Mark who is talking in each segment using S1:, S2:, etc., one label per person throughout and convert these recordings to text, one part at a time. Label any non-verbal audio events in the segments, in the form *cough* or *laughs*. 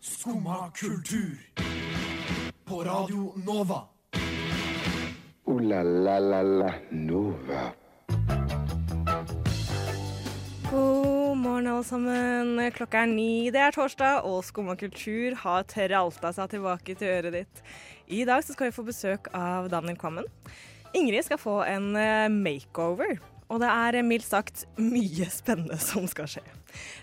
S1: Skumma kultur. På Radio Nova.
S2: Ooh la la la la Nova.
S3: God morgen, alle sammen. Klokka er ni, det er torsdag, og Skumma kultur har tralta seg tilbake til øret ditt. I dag så skal vi få besøk av Daniel Kvammen. Ingrid skal få en eh, makeover, og det er eh, mildt sagt mye spennende *laughs* som skal skje.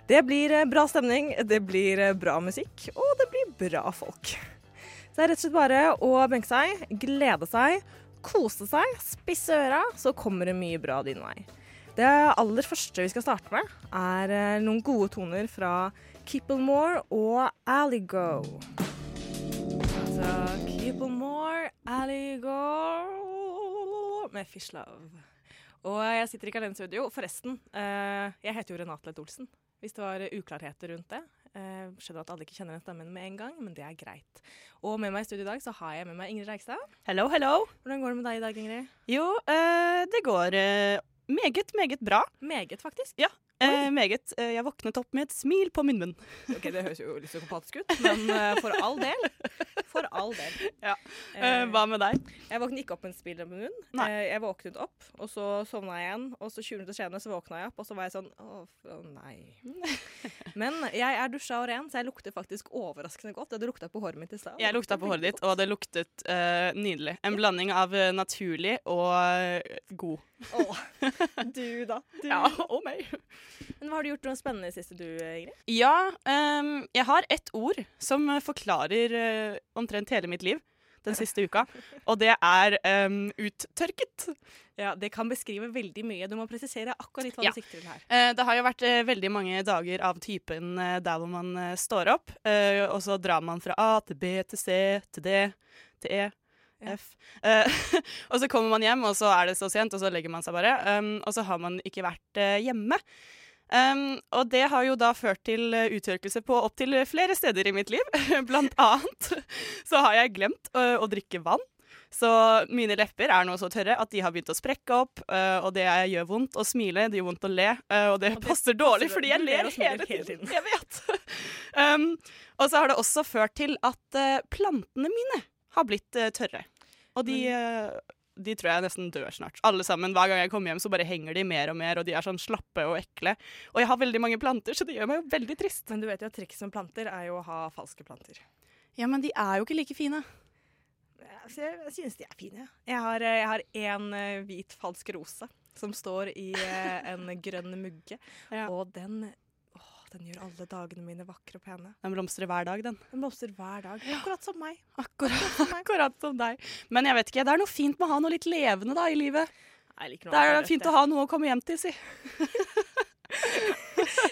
S3: Det blir eh, bra stemning, det blir eh, bra musikk, og det blir bra folk. Så det er rett og slett bare å benke seg, glede seg, kose seg, spisse øra, så kommer det mye bra din vei. Det aller første vi skal starte med, er eh, noen gode toner fra Kippelmore og Alligo. Altså Kippelmore, Alligo med Fish Love. Og jeg sitter ikke alene i studio. Forresten, eh, jeg heter jo Renate Lett Olsen. Hvis det var uklarheter rundt det. Eh, skjønner at alle ikke kjenner den stemmen med en gang, men det er greit. Og med meg i studio i dag så har jeg med meg Ingrid Reigstad.
S4: Hello, hello.
S3: Hvordan går det med deg i dag, Ingrid?
S4: Jo, eh, det går eh, meget, meget bra.
S3: Meget, faktisk.
S4: Eh, meget. Eh, jeg våknet opp med et smil på munnmunn.
S3: *laughs* Ok, Det høres jo litt psykopatisk ut, men eh, for all del. For all del.
S4: *laughs* Ja.
S3: Eh,
S4: hva med deg?
S3: jeg våknet ikke opp med en spill i munnen.
S4: Nei.
S3: Eh, jeg våknet opp, og så sovna jeg igjen. Og så 20 minutter senere så våkna jeg opp, og så var jeg sånn Å, f- å nei.
S4: *laughs*
S3: Men jeg er dusja og ren, så jeg lukter faktisk overraskende godt. Det hadde lukta på håret mitt i stad.
S4: Jeg lukta på håret ditt, og det luktet eh, nydelig. En blanding av eh, naturlig og eh, god.
S3: Åh, *laughs* du, da. Du.
S4: *laughs* og meg.
S3: Men hva har du gjort noe spennende i det siste, du, eh, Ingrid?
S4: Ja, ehm, jeg har ett ord som eh, forklarer eh, omtrent hele mitt liv den siste uka, og det er ehm, uttørket.
S3: Ja, Det kan beskrive veldig mye. Du må presisere akkurat litt hva
S4: Ja.
S3: du sikter til her.
S4: Eh, Det har jo vært eh, veldig mange dager av typen eh, der hvor man eh, står opp, eh, og så drar man fra A til B til C til D til E.
S3: Ja.
S4: F. Eh, *laughs* og så kommer man hjem, og så er det så sent, og så legger man seg bare. Um, og så har man ikke vært eh, hjemme. Um, og det har jo da ført til eh, uttørkelse på opptil flere steder i mitt liv. *laughs* Blant annet så har jeg glemt eh, å drikke vann. Så mine lepper er nå så tørre at de har begynt å sprekke opp, eh, og det gjør vondt å smile, det gjør vondt å le, eh, og det
S3: Og det
S4: passer dårlig
S3: passer
S4: fordi jeg
S3: dårlig. Du ler
S4: ler
S3: og smiler
S4: hele
S3: hele
S4: tiden.
S3: tiden.
S4: *laughs* Jeg vet. um, og så har det også ført til at eh, plantene mine har blitt eh, tørre. Og de, eh, de tror jeg nesten dør snart. Alle sammen, Hver gang jeg kommer hjem, så bare henger de mer og mer, og de er sånn slappe og ekle. Og jeg har veldig mange planter, så det gjør meg jo veldig trist.
S3: Men du vet jo at trikset med planter er jo å ha falske planter.
S4: Ja, men de er jo ikke like fine.
S3: Altså, jeg jeg synes de er fine. Jeg har, eh, jeg har en eh, hvit falsk rose som står i eh, en *laughs* grønn mugge.
S4: Ja.
S3: Og den, åh, den gjør alle dagene mine vakre og pene.
S4: Den blomstrer hver dag, den.
S3: Den blomstrer hver dag, akkurat som meg.
S4: Akkurat, *laughs* akkurat som deg. Men jeg vet ikke, det er noe fint med å ha noe litt levende da i livet. Det er fint å ha noe å komme hjem til, si.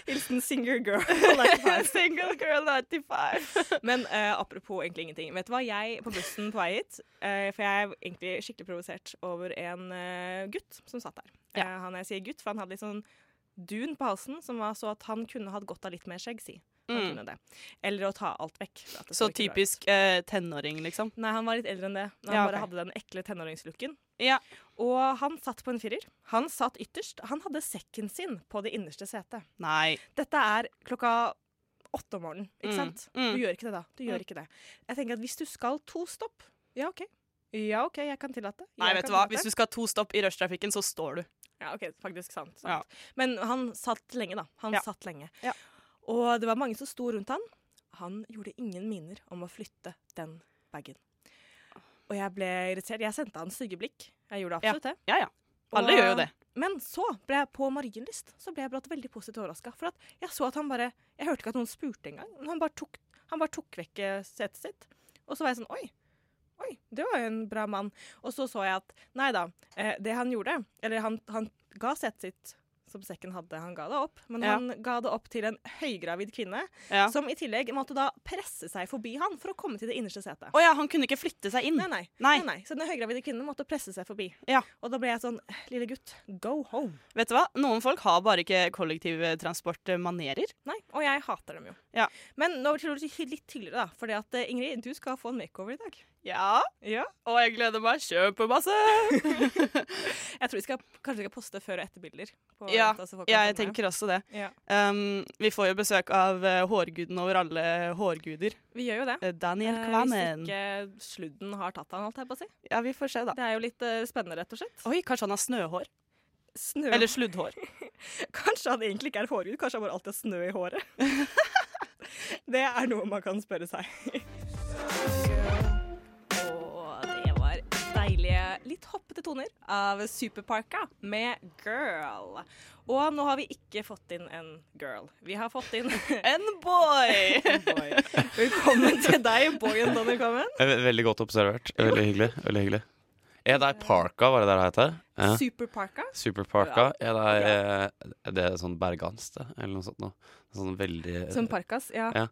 S3: Hilsen Singer *laughs* Girl.
S4: *laughs* Single girl 95.
S3: Men eh, apropos egentlig ingenting. Vet du hva, jeg på bussen på vei hit eh, For jeg er egentlig skikkelig provosert over en eh, gutt som satt der.
S4: Ja.
S3: Eh, han jeg sier gutt, for han hadde litt sånn dun på halsen som var så at han kunne hatt godt av litt mer skjegg, si. Han
S4: Mm.
S3: kunne det. Eller å ta alt vekk. for at det
S4: *laughs* Så
S3: ikke bra ut.
S4: typisk eh, tenåring, liksom.
S3: Nei, han var litt eldre enn det. men Han
S4: Ja,
S3: bare
S4: ok.
S3: hadde den ekle tenåringslooken.
S4: Ja.
S3: Og han satt på en firer. Han satt ytterst. Han hadde sekken sin på det innerste setet.
S4: Nei.
S3: Dette er klokka åtte om morgenen, ikke
S4: Mm,
S3: sant?
S4: mm.
S3: Du gjør ikke det da. Du gjør
S4: Mm.
S3: ikke det. Jeg tenker at hvis du skal to stopp, ja, OK. Ja, OK, jeg kan tillate.
S4: Nei, vet du hva? Hvis du skal ha to stopp i rushtrafikken, så står du.
S3: Ja, OK, faktisk sant. sant.
S4: Ja.
S3: Men han satt lenge, da. Han
S4: Ja.
S3: satt lenge.
S4: Ja.
S3: Og det var mange som sto rundt han. Han gjorde ingen miner om å flytte den bagen. Og jeg ble irritert. Jeg sendte han stygge blikk. Jeg gjorde absolutt det.
S4: Ja, ja. Alle
S3: Og-
S4: gjør jo det.
S3: Men så ble jeg på Marienlyst så ble jeg brått veldig positivt overraska. For at jeg så at han bare Jeg hørte ikke at noen spurte engang. men Han bare tok, han bare tok vekk eh, setet sitt. Og så var jeg sånn Oi. Oi, det var jo en bra mann. Og så så jeg at Nei da. Eh, det han gjorde Eller han, han ga setet sitt, som sekken hadde, han ga det opp. Men
S4: Ja.
S3: han ga det opp til en høygravid kvinne,
S4: Ja.
S3: som i tillegg måtte da presse seg forbi han for å komme til det innerste setet.
S4: Å ja, han kunne ikke flytte seg inn.
S3: Nei, nei.
S4: Nei.
S3: nei, nei. Så den høygravide kvinnen måtte presse seg forbi.
S4: Ja.
S3: Og da ble jeg sånn Lille gutt, go home.
S4: Vet du hva? Noen folk har bare ikke kollektivtransportmanerer.
S3: Nei, og jeg hater dem jo.
S4: Ja.
S3: Men nå til litt hyggeligere, da. Fordi at eh, Ingrid, du skal få en makeover i dag.
S4: Ja.
S3: Ja.
S4: Og jeg *laughs* gleder meg. Kjøper masse.
S3: Jeg tror vi skal, kanskje vi skal poste før- og etterbilder. på
S4: Ja,
S3: ut. Altså, folk kan
S4: Jeg
S3: komme.
S4: tenker også det.
S3: ja.
S4: Um, vi får jo besøk av eh, hårguden over alle hårguder,
S3: Vi gjør jo det.
S4: eh, Daniel
S3: Eh,
S4: Kvamen.
S3: Hvis ikke sludden har tatt han, holdt jeg på å si.
S4: Ja, vi får se, da.
S3: Det er jo litt eh, spennende, rett og slett.
S4: Oi, kanskje han har snøhår?
S3: Snø.
S4: Eller sluddhår.
S3: kanskje han egentlig ikke er hårgud, kanskje han bare alltid har snø i håret. *laughs* det er noe man kan spørre seg. Og det var deilige, litt hoppete toner av Superparka med Girl. Og nå har vi ikke fått inn en girl. Vi har fått *laughs* inn
S4: En boy!
S3: boy. Velkommen til deg, boyen Donald Common.
S5: Eh, ve- Veldig godt observert. Veldig hyggelig. veldig hyggelig Er det Parka, var det det det heter? Ja.
S3: Superparka.
S5: Superparka? Er det, eh, er det sånn bergansk, det? Eller noe sånt noe? Sånn veldig
S3: Som Parkas, ja.
S5: Ja.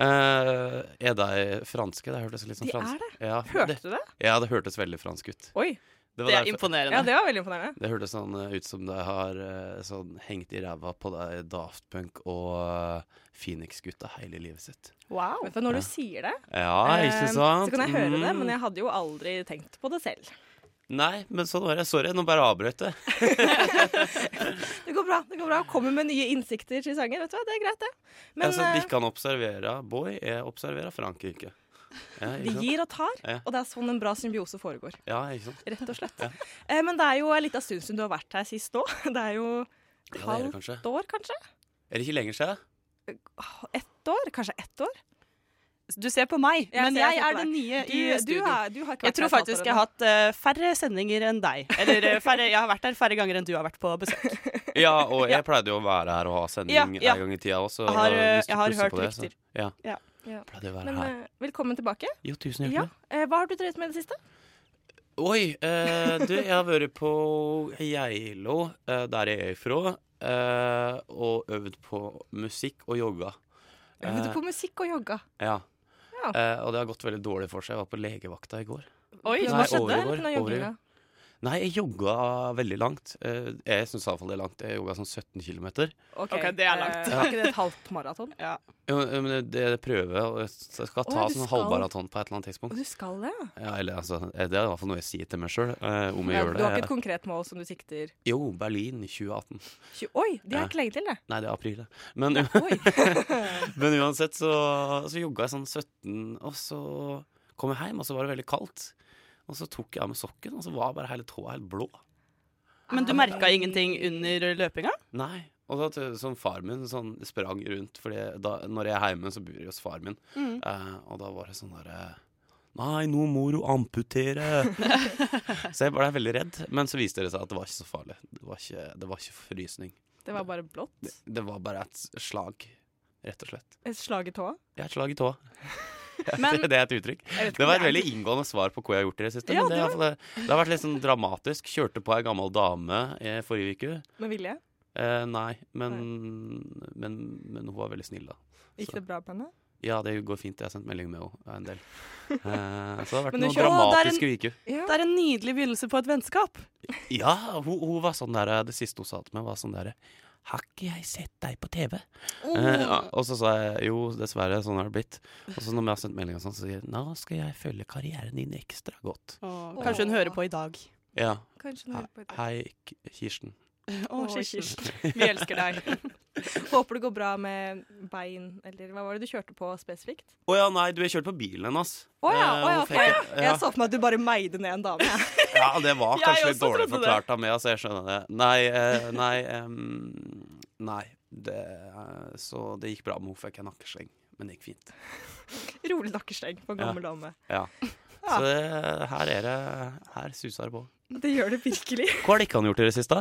S5: Eh, er de franske? Det hørtes litt sånn
S3: De er
S5: fransk Ja,
S3: Hørte du det?
S5: Ja, det hørtes veldig fransk ut.
S3: Oi.
S4: Det
S5: Det, var
S4: er
S5: derfor-
S4: imponerende.
S3: Ja, det var veldig imponerende.
S5: det hørtes sånn eh, ut som det har eh, sånn, hengt i ræva på deg Daft Punk og eh, Phoenix-gutta hele livet sitt.
S4: Wow.
S3: For når du sier det,
S5: Ja,
S3: eh,
S5: ikke sant?
S3: så kan jeg høre det,
S5: Mm.
S3: men jeg hadde jo aldri tenkt på det selv.
S5: Nei, men sånn var det. Sorry, nå bare avbrøt jeg.
S3: Det går bra. det går bra. Kommer med nye innsikter til sanger. vet du hva, Det er greit, det. Men
S5: altså, de
S3: eh,
S5: kan observere Boy, jeg observerer Frankrike.
S4: *laughs*
S5: Ja,
S3: de
S5: ikke sant?
S3: gir og tar,
S5: Ja.
S3: og det er sånn en bra symbiose foregår.
S5: Ja, ikke sant?
S3: Rett og slett. Eh, Men det er jo en liten stund siden du har vært her sist nå. *laughs* Det er jo et
S5: Ja, det er det
S3: halvt
S5: kanskje.
S3: år, kanskje?
S5: Er det ikke lenger siden?
S3: Ett år? Kanskje ett år?
S4: Du ser på meg,
S3: Jeg
S4: men
S3: ser- jeg
S4: jeg
S3: ser på
S4: er den nye
S3: Du,
S4: i
S3: du,
S4: studio.
S3: er, du har ikke vært
S4: Jeg tror
S3: her et halvt
S4: faktisk
S3: år
S4: jeg har
S3: ennå.
S4: hatt eh, færre sendinger enn deg. Eller eh, færre, jeg har vært her færre ganger enn du har vært på besøk.
S5: Ja,
S4: *laughs*
S5: og jeg pleide jo å være her og ha sending
S4: Ja, ja.
S5: en gang i tida også.
S4: Jeg har, eh,
S5: og hvis du
S4: jeg har
S5: plusser
S4: hørt
S5: på det, så-
S4: rykter.
S5: Ja.
S4: Ja.
S3: Ja.
S5: Pleide å være
S3: Men
S5: her.
S3: eh, velkommen tilbake.
S5: Jo, tusen
S3: Ja.
S5: hjertelig.
S3: Eh, Hva har du drevet med i det siste?
S5: Oi, eh, du, jeg har vært på Geilo, eh, der jeg er ifra, eh, og øvd på musikk og yoga.
S3: Øvde
S5: Eh,
S3: på musikk og jogga.
S5: Ja.
S3: Ja.
S5: Eh, og det har gått veldig dårlig for seg. Jeg var på legevakta i går.
S4: Oi,
S5: Nei,
S3: hva skjedde?
S5: overgår,
S3: På den jogginga?
S5: overgår. Nei, jeg jogga veldig langt. Eh, Jeg syns iallfall det er langt. Jeg jogga sånn 17 km.
S4: Ok, det er langt.
S3: eh, var ikke det et halvt maraton?
S5: eh, Men det- det prøver jeg, og jeg skal ta
S3: Å, du
S5: sånn
S3: skal.
S5: halvmaraton på et eller annet
S3: Og
S5: tidspunkt.
S3: du skal det, ja?
S5: Ja, eller altså, Det er i hvert fall noe jeg sier til meg sjøl, om jeg
S3: Ja,
S5: gjør
S3: Du har ikke
S5: det.
S3: et konkret mål som du sikter
S5: Jo, Berlin 2018.
S3: Tju- Oi, det har jeg
S5: Ja.
S3: ikke lenge til, det.
S5: Nei, det er april, det.
S3: *laughs*
S5: Men,
S3: Oi.
S5: *laughs* men uansett så, så jogga jeg sånn 17, og så kom jeg hjem, og så var det veldig kaldt. Og så tok jeg av meg sokken, og så var bare hele tåa helt blå.
S4: Men du merka ingenting under løpinga?
S5: Nei. Og da t- sånn far min sånn, sprang rundt, Fordi da, når jeg er hjemme, så bor jeg hos far min. Eh, og da var det sånn derre Nei, nå må du amputere! *laughs* så jeg ble veldig redd. Men så viste det seg at det var ikke så farlig. Det var ikke, det var ikke frysning.
S3: Det var bare blått.
S5: Det var bare et slag, rett og slett.
S3: Et slag i tåa.
S5: Jeg har et slag i tåa. *laughs*
S4: Men-
S5: det er et uttrykk.
S3: Jeg vet ikke
S5: Det
S3: om
S5: var et
S3: er-
S5: veldig inngående svar på hva jeg har gjort i det siste.
S3: Ja,
S5: men det,
S3: det
S5: er i hvert fall- det har vært litt sånn dramatisk. Kjørte på ei gammel dame i forrige uke.
S3: Med vilje.
S5: Eh, nei, men, Men, men hun var veldig snill, da.
S3: Gikk det bra på henne?
S5: Ja, det går fint. Jeg har sendt melding med henne en del. Eh, så det har
S3: *laughs*
S5: vært
S3: Men du
S5: noen
S3: kjører-
S4: Å, det er en-
S5: dramatiske uker.
S3: Ja.
S4: Det er en nydelig begynnelse på et vennskap.
S5: Ja, hun, hun var sånn der Det siste hun sa til meg, var sånn derre Har ikke jeg sett deg på TV? Eh, ja,
S3: Oh.
S5: og så sa jeg jo, dessverre, sånn har det blitt. Og så når vi har sendt melding og sånn, så sier hun nå skal jeg følge karrieren din ekstra godt.
S4: Åh, Kanskje hun hører på i dag.
S5: Ja.
S3: Kanskje hun hører på i dag.
S5: Hei, K- Kirsten.
S4: Å,
S3: Åh,
S4: Kirsten. Vi elsker deg.
S3: *laughs* Håper det går bra med bein, eller hva var det du kjørte på spesifikt?
S5: Å ja, nei, du har kjørt på bilen hennes.
S3: Å ja, å ja,
S5: Eh, hun
S3: ok.
S5: fikk- ja.
S3: Jeg så for meg at du bare meide ned en dame. *laughs*
S5: Ja, det var
S4: Jeg
S5: kanskje litt
S4: også
S5: dårlig
S4: trodde det.
S5: forklart av meg, altså jeg skjønner det. Nei, eh, nei, em, nei. Det, eh, så det gikk bra med henne, fikk jeg nakkesleng. Men det gikk fint.
S3: Rolig nakkesteng på en gammel dame.
S5: Ja. Så det, her er det Her suser det på.
S3: Det gjør det virkelig.
S5: Hva har dere ikke gjort i det siste?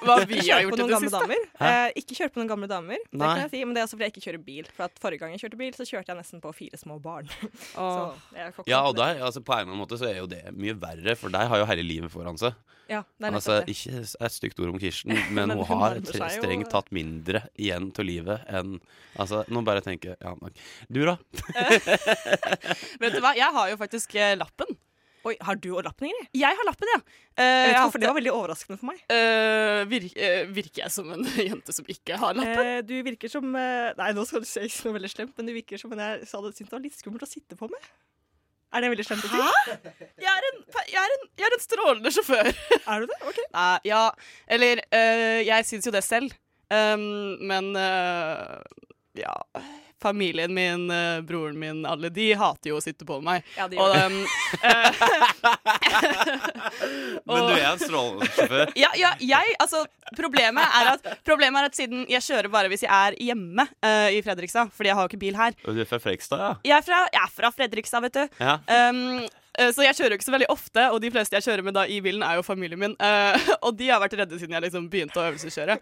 S4: Hva vi
S3: Ikke
S4: har
S3: kjøre på
S4: gjort i
S3: noen
S4: det
S3: gamle
S4: siste.
S3: damer. Eh,
S5: Hæ?
S3: ikke kjøre på noen gamle damer, det
S5: Nei.
S3: kan jeg si. Men det er også fordi jeg ikke kjører bil. For at forrige gang jeg kjørte bil, så kjørte jeg nesten på fire små barn. *laughs* Så
S4: Åh.
S3: jeg får ikke
S5: Ja,
S3: til
S5: og der, altså på en eller annen måte så er jo det mye verre, for de har jo hele livet foran seg.
S3: Ja, det er
S5: Altså,
S3: nettopp det.
S5: ikke et stygt ord om Kirsten, men,
S3: Men
S5: hun
S3: hun
S5: har
S3: nærmer
S5: tre-
S3: seg jo-
S5: strengt tatt mindre igjen til livet enn Altså, nå bare tenker jeg ja, nok. Du, da?
S4: Vet du hva, jeg har jo faktisk eh, lappen.
S3: Oi, har du og lappen, Ingrid?
S4: Jeg har lappen, ja. Eh,
S3: Jeg vet
S4: jeg
S3: ikke
S4: har
S3: hvorfor det var veldig overraskende for meg.
S4: hatt- eh, vir- eh, virker jeg som en *laughs* jente som ikke har lappen?
S3: Eh, du virker som eh, Nei, nå skal du si noe veldig slemt, men du virker som en jeg sa det syntes det var litt skummelt å sitte på med. Er det veldig slemt å si?
S4: Jeg er en, jeg er en, jeg er en strålende sjåfør.
S3: Er du det? Ok.
S4: Nei, Eh, ja Eller øh, jeg syns jo det selv. Ehm, men øh, ja Familien min, øh, broren min, alle de hater jo å sitte på meg.
S3: Ja, de
S4: Og,
S3: gjør det.
S4: ehm, *laughs*
S5: Men du er en strålende sjåfør. *laughs*
S4: ja, ja, jeg Altså, problemet er at Problemet er at siden jeg kjører bare hvis jeg er hjemme øh, i Fredrikstad, fordi jeg har jo ikke bil her.
S5: Du er fra Frekstad, ja?
S4: Jeg er fra, jeg er fra Fredrikstad, vet du.
S5: Ja.
S4: Ehm, eh, så jeg kjører jo ikke så veldig ofte, og de fleste jeg kjører med da i bilen, er jo familien min. Eh, *laughs* og de har vært redde siden jeg liksom begynte å øvelseskjøre.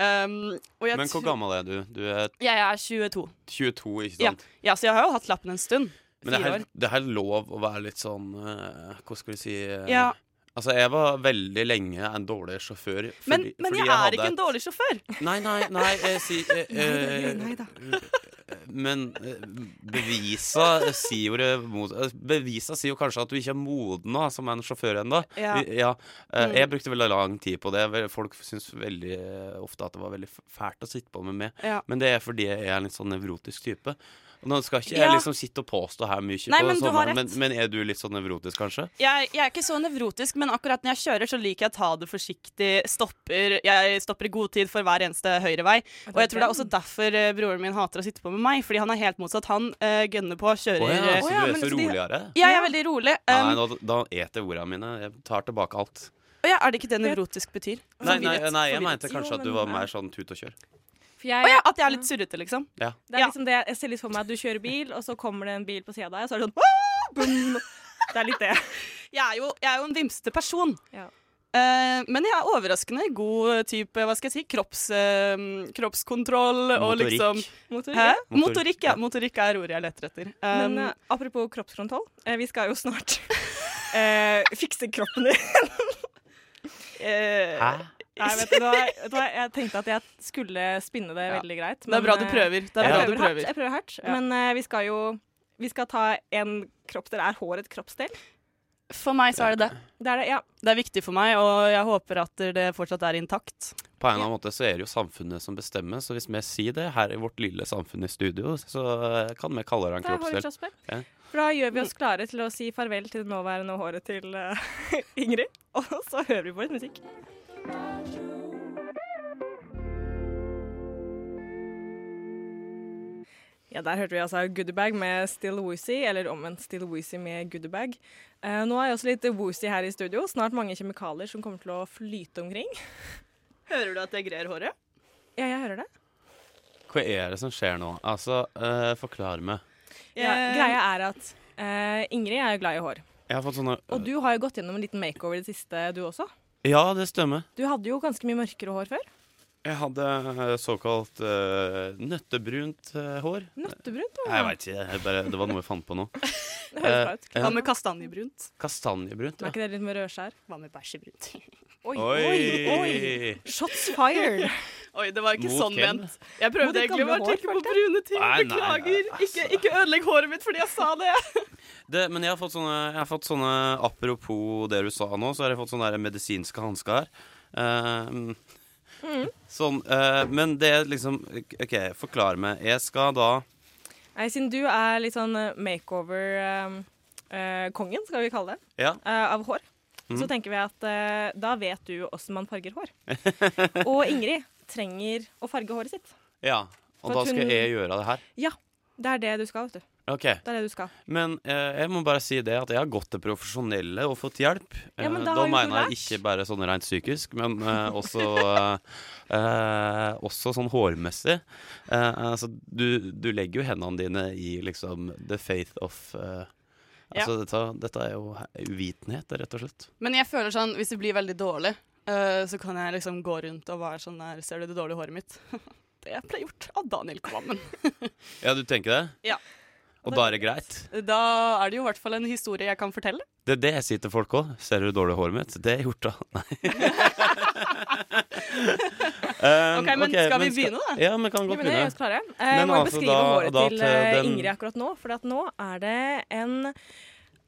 S4: Ehm, og jeg
S5: Men hvor
S4: tror-
S5: gammel er du? Du er
S4: Jeg er 22.
S5: 22, ikke
S4: Ja.
S5: sant?
S4: ja, så jeg har jo hatt lappen en stund.
S5: Men det
S4: Fire
S5: her,
S4: år.
S5: det her er lov å være litt sånn eh, Hva skal vi si eh,
S4: Ja.
S5: Altså, jeg var veldig lenge en dårlig sjåfør. Fordi,
S4: Men, men
S5: fordi
S4: jeg er ikke en dårlig sjåfør.
S5: Nei, nei, nei, jeg sier
S4: *laughs*
S5: eh, eh,
S3: Nei da,
S5: Men eh, bevisa sier jo det mot- eh, Bevisa sier jo kanskje at du ikke er moden da, som en sjåfør ennå.
S4: Ja. Mm.
S5: Vi- ja. Eh, Jeg brukte veldig lang tid på det. Vel, Folk syns veldig eh, ofte at det var veldig f- fælt å sitte på med meg.
S4: Ja.
S5: Men det er fordi jeg er en litt sånn nevrotisk type. Og Nå skal ikke jeg
S4: Ja.
S5: liksom sitte og påstå her mye,
S4: Nei,
S5: på
S4: men du har
S5: sommeren, men,
S4: rett.
S5: men er du litt sånn nevrotisk, kanskje?
S4: Jeg, jeg er ikke så nevrotisk, men akkurat når jeg kjører, så liker jeg å ta det forsiktig. Stopper, jeg stopper i god tid for hver eneste høyrevei. Og jeg tror det er også derfor eh, broren min hater å sitte på med meg, fordi han er helt motsatt. Han eh, gønner på, kjører
S5: Å ja,
S4: eh,
S5: så
S3: Å ja,
S5: du er
S3: men
S5: så
S3: så de-
S5: roligere?
S4: Ja, jeg er veldig rolig. Um,
S5: Nei, nå, da eter jeg ordene mine. Jeg tar tilbake alt.
S4: og ja, er det ikke det nevrotisk betyr?
S5: Nei, nei,
S4: Forvirret,
S5: nei jeg
S4: forvirret.
S5: mente kanskje
S3: Jo,
S5: at du
S3: men-
S5: var mer sånn tut og kjør.
S3: For jeg,
S4: Å ja, at jeg er litt surrete, liksom.
S5: Ja.
S3: Det er
S4: Ja.
S3: liksom det, jeg ser litt for meg at du kjører bil, og så kommer det en bil på sida av deg, og så er det sånn «Åh!» Boom! Det er litt det.
S4: Jeg er jo, jeg er jo en vimsete person.
S3: Ja.
S4: Eh, men jeg er overraskende god eh, type, hva skal jeg si, kropps, eh, kroppskontroll og
S5: Motorikk.
S4: liksom
S3: Motor,
S4: Hæ?
S3: ja.
S5: Motorikk,
S4: Motorikk, ja. Motorikk er ordet jeg leter etter. Um,
S3: Men eh, apropos kroppskontroll, eh, vi skal jo snart *laughs* eh, fikse kroppen din. *laughs* Eh,
S5: Hæ?
S3: Nei, vet du, hva, vet du hva, jeg tenkte at jeg skulle spinne det
S4: Ja.
S3: veldig greit.
S4: det er bra
S3: men,
S4: du
S3: eh,
S4: prøver. Det er
S5: Ja.
S4: bra
S3: Jeg
S4: du
S3: prøver hardt,
S4: prøver.
S3: jeg prøver hardt
S4: Ja.
S3: men eh, vi skal jo vi skal ta en kroppsdel. Er hår et kroppsdel?
S4: For meg så er det det.
S3: Det er det, ja.
S4: Det er viktig for meg, og jeg håper at det fortsatt er intakt.
S5: På en eller annen måte så er det jo samfunnet som bestemmer, så hvis vi sier det her i vårt lille samfunn i studio, så eh, kan vi kalle det en
S3: Det er hår et kroppsdel.
S5: kroppsdel. Ja.
S3: For da gjør vi oss klare til å si farvel til det nåværende håret til eh, *laughs* Ingrid, og så hører vi på litt musikk. Ja, Der hørte vi altså Goodiebag med Still Woozy, eller omvendt Still Woozy med Goodiebag. Eh, nå er jeg også litt woozy her i studio. Snart mange kjemikalier som kommer til å flyte omkring. *laughs*
S4: Hører du at jeg grer håret?
S3: Ja, jeg hører det.
S5: Hva er det som skjer nå? Altså, eh, forklar meg.
S3: Ja, greia er at eh, Ingrid er jo glad i hår.
S5: Jeg har fått sånne eh,
S3: Og du har jo gått gjennom en liten makeover i det siste, du også.
S5: Ja, det stemmer.
S3: Du hadde jo ganske mye mørkere hår før.
S5: Jeg hadde eh, såkalt eh, nøttebrunt eh, hår.
S3: Nøttebrunt. da.
S5: Jeg veit ikke, jeg bare, det var noe jeg fant på nå.
S3: Det høres bra ut.
S5: Eh,
S4: Hva
S5: ja,
S4: med kastanjebrunt?
S5: kastanjebrunt,
S3: Er
S5: ja.
S3: ikke det litt med rødskjær?
S4: Hva med bæsjebrunt?
S3: Oi,
S5: Oi!
S3: Shots fired!
S4: Oi, det var ikke
S5: Mot
S4: sånn
S5: hvem?
S4: ment. Jeg
S3: Mot
S4: prøvde
S3: ditt
S4: egentlig
S3: gamle
S4: bare å
S3: hår,
S4: tenke på brune ting.
S5: Nei, nei, nei, altså.
S4: Beklager. Ikke, ikke ødelegg håret mitt fordi jeg sa det.
S5: Det, men jeg har, fått sånne, jeg har fått sånne Apropos det du sa nå, så har jeg fått sånne der medisinske hansker her. Ehm, Sånn, eh, men det er liksom OK, forklar meg. Jeg skal da
S3: Nei, siden du er litt sånn makeover-kongen, eh, skal vi kalle det,
S5: Ja,
S3: eh, av hår,
S5: Mm.
S3: så tenker vi at eh, da vet du åssen man farger hår. Og Ingrid trenger å farge håret sitt.
S5: ja.
S3: For
S5: Og da
S3: at
S5: skal
S3: hun-
S5: jeg gjøre det her.
S3: Ja, det er det du skal, vet du.
S5: OK.
S3: Det er det du skal.
S5: Men eh, jeg må bare si det at jeg har gått til profesjonelle og fått hjelp.
S3: Ja, men
S5: Eh,
S3: da
S5: da
S3: har jo du
S5: mener jeg
S3: lært.
S5: ikke bare sånn rent psykisk, men eh, også, eh, eh, også sånn hårmessig. Eh, altså, du, du legger jo hendene dine i liksom the faith of eh,
S4: Ja.
S5: Altså, dette, dette er jo he- uvitenhet, rett og slett.
S4: Men jeg føler sånn, hvis det blir veldig dårlig, eh, så kan jeg liksom gå rundt og være sånn der, ser du det dårlige håret mitt? *laughs* Det ble gjort av Daniel Kvammen.
S5: Ja, du tenker det?
S4: Ja.
S5: Og da er det greit?
S4: Da er det jo i hvert fall en historie jeg kan fortelle.
S5: Det er det jeg sier til folk òg. Ser du det dårlige håret mitt? Det er gjort, da. *laughs* Nei.
S4: *laughs*
S5: um,
S4: Ok, men skal vi begynne, da?
S5: Ja, vi kan
S3: Ja, men
S5: godt
S3: det
S5: begynne.
S3: gjør oss klare. Eh,
S5: Men
S3: jeg må jo
S5: altså
S3: beskrive
S5: da-
S3: håret
S5: da
S3: til
S5: til
S3: eh,
S5: den-
S3: Ingrid akkurat nå, for at nå er det en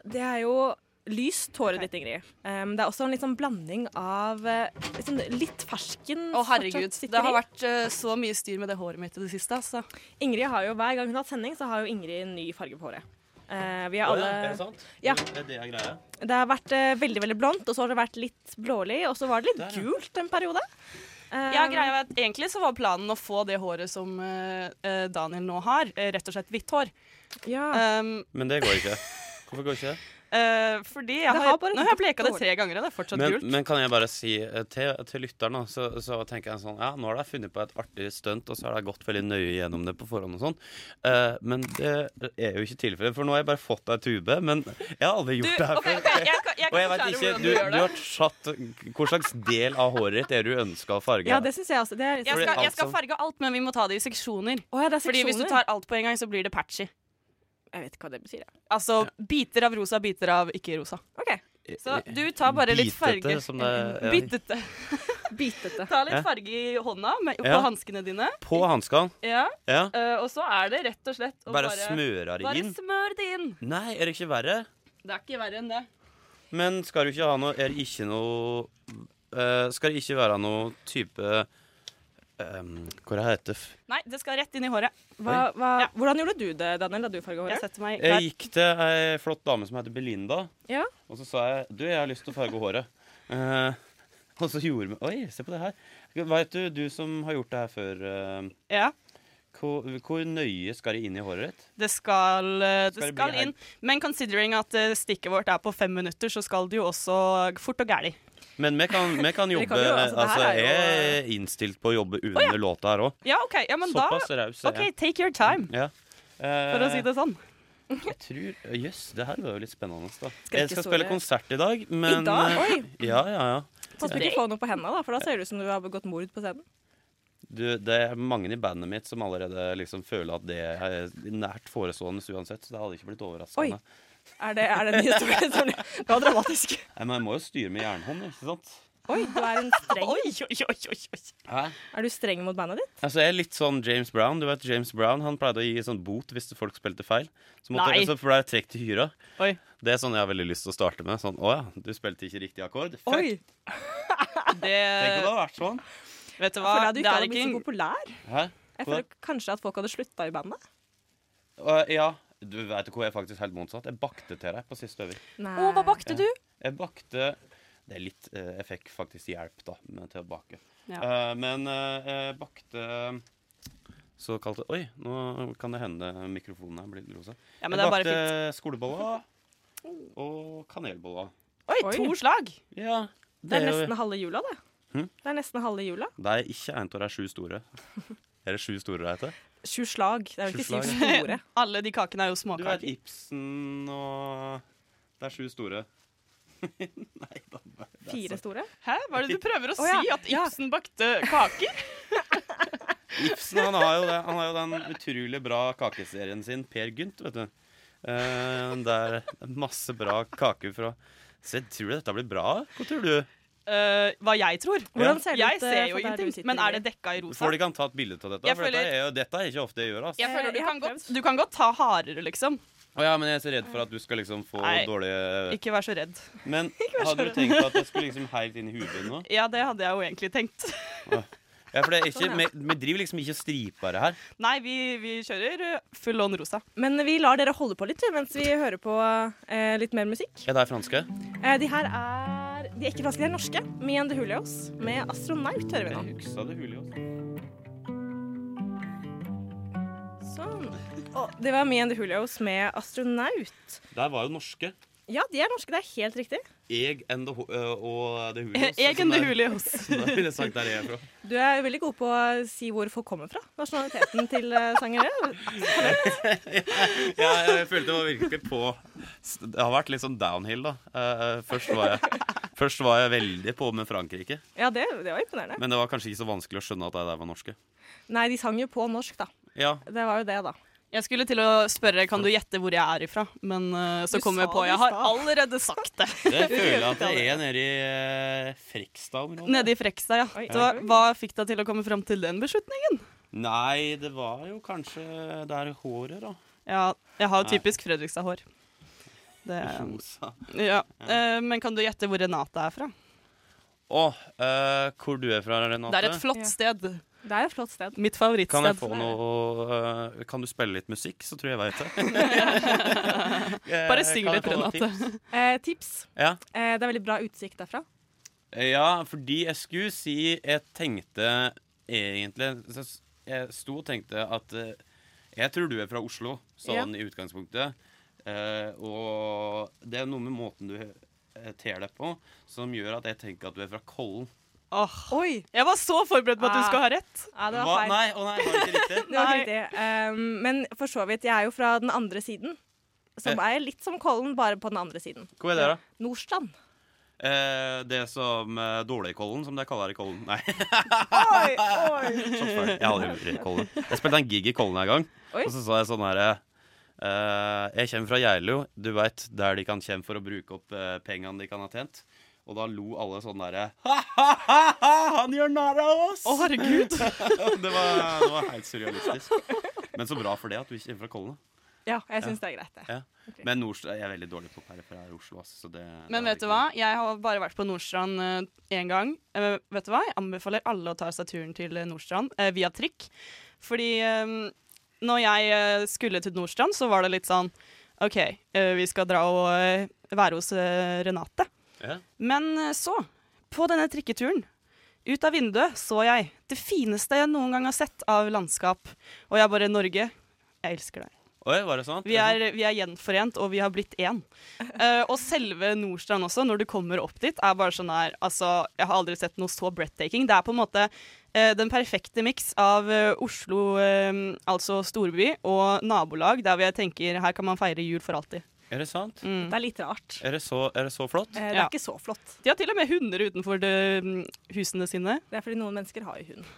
S3: Det er jo lyst håret ditt, Ingrid. Um, det er også en litt sånn blanding av eh, litt sånn litt fersken
S4: Å herregud,
S3: fortsatt sitter
S4: det har
S3: i.
S4: vært eh, så mye styr med det håret mitt i det siste, altså.
S3: Ingrid har jo Hver gang hun har hatt sending, så har jo Ingrid en ny farge på håret. Eh, vi har
S5: Å ja, er det
S3: alle
S5: sant?
S3: Ja.
S5: Det er det jeg greier.
S3: Det har vært eh, veldig veldig blondt, og så har det vært litt blålig, og så var det litt
S5: Der, ja.
S3: gult en periode. Eh,
S4: Ja, greia er at Egentlig så var planen å få det håret som eh, eh, Daniel nå har, eh, rett og slett hvitt hår.
S3: Eh, Ja.
S4: Um,
S5: Men det går ikke. Hvorfor går ikke det?
S4: eh, fordi jeg
S3: Det
S4: har,
S3: har bare
S4: Nå har jeg
S3: blitt
S4: bleka det
S3: hår.
S4: tre ganger, og det er fortsatt
S5: Men,
S4: gult.
S5: men kan jeg bare si eh, til, til lytteren, da, så, så tenker jeg sånn Ja, nå har de funnet på et artig stunt, og så har de gått veldig nøye gjennom det på forhånd og sånn. Eh, men det er jo ikke tilfellet, for nå har jeg bare fått ei tube. Men jeg har aldri gjort det her
S4: ok,
S5: før.
S4: ok, jeg, kan- jeg
S5: Og jeg
S4: kan
S5: vet
S4: forklare
S5: ikke,
S4: hvordan
S5: du,
S4: gjør
S5: du
S4: det.
S5: har satt Hvor slags del av håret ditt er det du ønsker å farge?
S3: ja, det syns jeg også. Det er sånn-
S4: Jeg
S5: Fordi
S4: skal, jeg
S5: alt
S4: skal
S5: som-
S4: farge alt, men vi må ta det i seksjoner.
S3: Å ja, det er
S4: Fordi hvis du
S3: seksjoner.
S4: tar alt på en gang, så blir det patchy.
S3: Jeg vet ikke hva det betyr. jeg.
S4: Altså biter av rosa, biter av ikke rosa.
S3: OK.
S4: Så du tar bare litt
S5: Bitete,
S4: farger. *laughs*
S5: som det- ja.
S4: Bitete.
S3: Bitete.
S4: Ta litt
S5: Ja.
S4: farge i hånda med, på
S5: Ja.
S4: hanskene dine.
S5: På hanskene?
S4: Ja.
S5: Ja.
S4: eh, og så er det rett og slett å
S5: Bare smører det
S4: bare
S5: inn?
S4: smør det inn.
S5: Nei, er det ikke verre?
S4: Det er ikke verre enn det.
S5: Men skal du ikke ha noe Er det ikke noe eh, Skal det ikke være noe type um, Hva det heter det?
S4: Nei, det skal rett inn i håret.
S3: Hva, hva,
S4: Ja.
S3: Hvordan gjorde du det, Daniel, da du farga
S4: Jeg
S3: håret?
S4: setter meg
S5: Jeg
S4: klar.
S5: gikk til ei flott dame som heter Belinda,
S3: Ja.
S5: og så sa jeg Du, jeg har lyst til å farge håret. Eh, og så gjorde vi Oi, se på det her. Veit du, du som har gjort det her før, eh,
S4: Ja.
S5: hvor, hvor nøye skal det inn i håret ditt?
S4: Det skal, eh, det
S5: Skal det bli
S4: skal
S5: her?
S4: inn. Men considering at eh, stikket vårt er på fem minutter, så skal det jo også fort og gæli.
S5: Men vi kan, vi kan jobbe
S3: kan jo, altså,
S5: altså,
S3: det her er jo-
S5: Jeg er innstilt på å jobbe under låta her òg.
S4: Ja, OK. Ja, men da
S5: Såpass raus er
S4: OK, take your time,
S5: jeg. Ja.
S4: for å si det sånn.
S5: Eh, Jeg tror, Jøss, det her var jo litt spennende. da
S3: Skal
S5: Jeg
S3: ikke
S5: skal
S3: så
S5: spille
S3: det-
S5: konsert i dag, men
S3: I dag?
S5: eh,
S3: Oi! *laughs*
S5: Ja, ja, ja.
S3: Pass på ikke å få noe på hendene, da, for da ser det ut som du har begått mord på scenen.
S5: Du, det er mange i bandet mitt som allerede liksom føler at det er nært forestående uansett, så det hadde ikke blitt overraskende.
S3: Er det, er det en historie som Det var dramatisk.
S5: Nei, Men jeg må jo styre med jernhånd, ikke sant?
S3: Eh, Oi, du er en streng.
S4: Oi, oi, oi, oi, oi.
S5: Hæ?
S3: Er du streng mot bandet ditt?
S5: Altså, jeg er litt sånn James Brown. Du vet, James Brown han pleide å gi sånn bot hvis folk spilte feil. Så måtte
S4: Nei.
S5: Så ble jeg trukket til hyra.
S4: Oi.
S5: Det er sånn jeg har veldig lyst til å starte med. Sånn, Å ja, du spilte ikke riktig akkord? Fuck.
S3: Oi!
S5: Tenk om det
S4: Det
S5: hadde vært sånn.
S4: Vet du hva,
S3: Føler jeg at du ikke
S4: det er
S3: hadde
S4: ikke
S3: blitt så
S4: en
S3: populær?
S5: Hæ?
S3: Jeg
S5: Hva?
S3: føler kanskje at folk hadde slutta i bandet.
S5: Å, ja. Du vet hvor jeg er faktisk helt motsatt. Jeg bakte til deg på siste øving.
S3: Nei.
S4: Å, hva bakte
S3: Eh.
S4: du?
S5: Jeg bakte Det er litt eh, Jeg fikk faktisk hjelp da med, til å bake.
S4: Ja.
S5: Eh, men eh, jeg bakte såkalte Oi, nå kan det hende mikrofonen her blir rosa.
S4: Ja, men det
S5: jeg
S4: er bare
S5: bakte
S4: fint.
S5: skoleboller og kanelboller.
S4: Oi,
S3: Oi.
S4: to slag!
S5: Ja.
S3: Det er
S5: jo-
S3: nesten halve jula, det.
S5: Hm?
S3: Det er nesten halve jula.
S5: Det er ikke en av de sju store. Er det sju store det heter?
S3: Sju slag. Det er jo
S5: Sju
S3: ikke syv
S5: slag,
S3: store.
S4: Alle de kakene er jo
S5: Du vet
S4: småkaker.
S5: Ibsen og Det er sju store. *laughs*
S3: Fire store.
S4: Hæ? Hva er det du prøver å
S3: Å, ja.
S4: si? At
S3: Ja.
S4: Ibsen bakte kaker?
S3: *laughs*
S5: Ibsen han har, jo det, han har jo den utrolig bra kakeserien sin, Per Gynt, vet du. Eh, det er masse bra kaker fra Så jeg tror dette blir bra. Hva tror du?
S4: Eh, hva jeg tror.
S3: Hvordan ser det
S4: jeg
S3: ut, eh,
S4: ser jo
S3: for der du
S4: ingenting.
S3: sitter
S4: Men
S3: i?
S4: er det dekka i rosa?
S5: Folk kan ta et bilde av dette.
S4: Jeg
S5: For dette
S4: føler-
S5: er, jo, dette er ikke ofte jeg gjør. Altså.
S4: Jeg føler du
S3: Jeg har
S4: kan, godt,
S3: prøvd.
S4: du kan godt ta hardere, liksom.
S5: Å ja, men jeg er så redd for at du skal liksom få
S4: Nei.
S5: dårlige
S4: Ikke vær så redd. *laughs*
S5: Men hadde du tenkt at det skulle liksom helt inn i huet nå?
S4: Ja, det hadde jeg jo egentlig tenkt. *laughs*
S5: Ja, for det er ikke,
S3: Sånn,
S5: vi,
S3: ja.
S5: vi driver liksom ikke og striper det her.
S4: Nei, vi, vi kjører eh, full on rosa.
S3: Men vi lar dere holde på litt vi, mens vi hører på eh, litt mer musikk.
S5: Er det franske?
S3: Eh, de her er De er ikke franske, de er norske. Med The Hulios. Med Astronaut hører vi nå.
S5: huksa det hulet også.
S3: Sånn. Å, det var Me and the Hulios med Astronaut.
S5: Der var jo norske.
S3: Ja, de er norske. Det er helt riktig.
S5: Eg and the, ho- ø, og det
S4: *laughs*
S5: hulet.
S4: Egen det hule
S5: *laughs*
S4: hos.
S5: Da ville jeg sagt der er jeg fra.
S3: Du er veldig god på å si hvor folk kommer fra. Nasjonaliteten til eh, sangere.
S5: *laughs* Ja, jeg følte det var virkelig på Det har vært litt sånn downhill, da. Eh, eh, Først
S4: *laughs*
S5: var jeg, først var jeg veldig på med Frankrike,
S3: Ja, det, det var imponerende.
S5: men det var kanskje ikke så vanskelig å skjønne at de der var norske.
S3: Nei, de sang jo på norsk, da.
S5: Ja,
S3: Det var jo det, da.
S4: Jeg skulle til å spørre kan du gjette hvor jeg er ifra, men eh, så
S3: Du
S4: kom jeg
S3: sa
S4: på
S3: det i
S4: jeg har
S3: stad.
S4: allerede sagt det.
S5: det føler jeg at det er nede i eh, Frekstad-området.
S4: Nede i Frekstad, ja.
S3: Oi.
S4: Så hva- hva fikk deg til å komme fram til den beslutningen?
S5: Nei, det var jo kanskje der håret, da.
S4: Ja, jeg har jo
S5: Nei.
S4: typisk Fredrikstad-hår. Det,
S5: Rosa.
S4: ja. Eh, men kan du gjette hvor Renate er fra?
S5: Å, eh, hvor du er fra, Renate?
S4: Det er et flott
S3: Ja.
S4: sted.
S3: Det er et flott sted.
S4: Mitt favorittsted.
S5: Kan jeg få noe eh, Kan du spille litt musikk, så tror jeg jeg
S4: *laughs*
S5: vet det. Eh,
S4: Bare syng
S5: kan jeg
S4: litt,
S5: få noen
S4: Renate.
S5: tips?
S3: Eh, tips.
S5: Ja.
S3: Eh, det er veldig bra utsikt derfra.
S5: Ja, fordi jeg skulle si Jeg tenkte egentlig så s- Jeg sto og tenkte at eh, Jeg tror du er fra Oslo, sånn i utgangspunktet. Eh, og det er noe med måten du eh, ter deg på, som gjør at jeg tenker at du er fra Kollen.
S4: Åh,
S3: Oi!
S4: Jeg var så forberedt på at du
S3: Ah.
S4: skulle ha rett.
S3: Ja, det var
S5: Hva?
S3: feil.
S5: Nei, å nei, var det
S4: *laughs*
S5: ikke riktig?
S3: Det var
S4: Nei.
S3: ikke riktig. Ehm, men for så vidt, jeg er jo fra den andre siden. Som er litt som Kollen, bare på den andre siden.
S5: Hva er det, da?
S3: Nordstrand.
S5: Eh, det som eh, Dårligkollen, som de kaller det i Kollen. Nei,
S3: Oi, oi.
S5: sånn feil. Jeg har
S4: *laughs*
S5: aldri vært i Kollen. Jeg spilte en gig i Kollen en gang,
S3: Oi.
S5: og så sa jeg sånn herre Jeg kommer fra Geilo, du veit, der de kan komme for å bruke opp eh, pengene de kan ha tjent. Og da lo alle sånn derre Ha-ha-ha, han gjør narr av oss!
S4: Å, herregud.
S5: *laughs* det, var, det var helt surrealistisk. Men så bra for det at du ikke kommer fra Kollen. da.
S3: Ja, jeg syns det er greit, det.
S5: Ja. Men Nordstrand jeg er veldig dårlig på periferær Oslo. ass, Så det,
S4: Men
S5: det er
S4: vet du
S5: ikke
S4: hva?
S5: noe.
S4: Jeg har bare vært på Nordstrand én gang. Eh, vet du hva? Jeg anbefaler alle å ta seg turen til eh, Nordstrand eh, via trikk. Fordi eh, når jeg eh, skulle til Nordstrand, så var det litt sånn OK, eh, vi skal dra og eh, være hos eh, Renate.
S5: Ja.
S4: Men eh, så, på denne trikketuren, ut av vinduet så jeg det fineste jeg noen gang har sett av landskap. Og jeg bare Norge, jeg elsker deg.
S5: Oi, var det sant?
S4: Vi er, vi er gjenforent, og vi har blitt
S5: *laughs*
S4: én. Eh, og selve Nordstrand også, når du kommer opp dit, er bare sånn her Altså, jeg har aldri sett noe så breathtaking. Det er på en måte eh, den perfekte miks av eh, Oslo, eh, altså storby, og nabolag, der hvor jeg tenker her kan man feire jul for alltid.
S5: Er det sant?
S4: Mm.
S3: Det er litt rart.
S5: Er, det så, er det så flott?
S3: Eh, det er
S4: Ja.
S3: ikke så flott.
S4: De har til og med hunder utenfor det, mm, husene sine.
S3: Det er fordi noen mennesker har jo hund.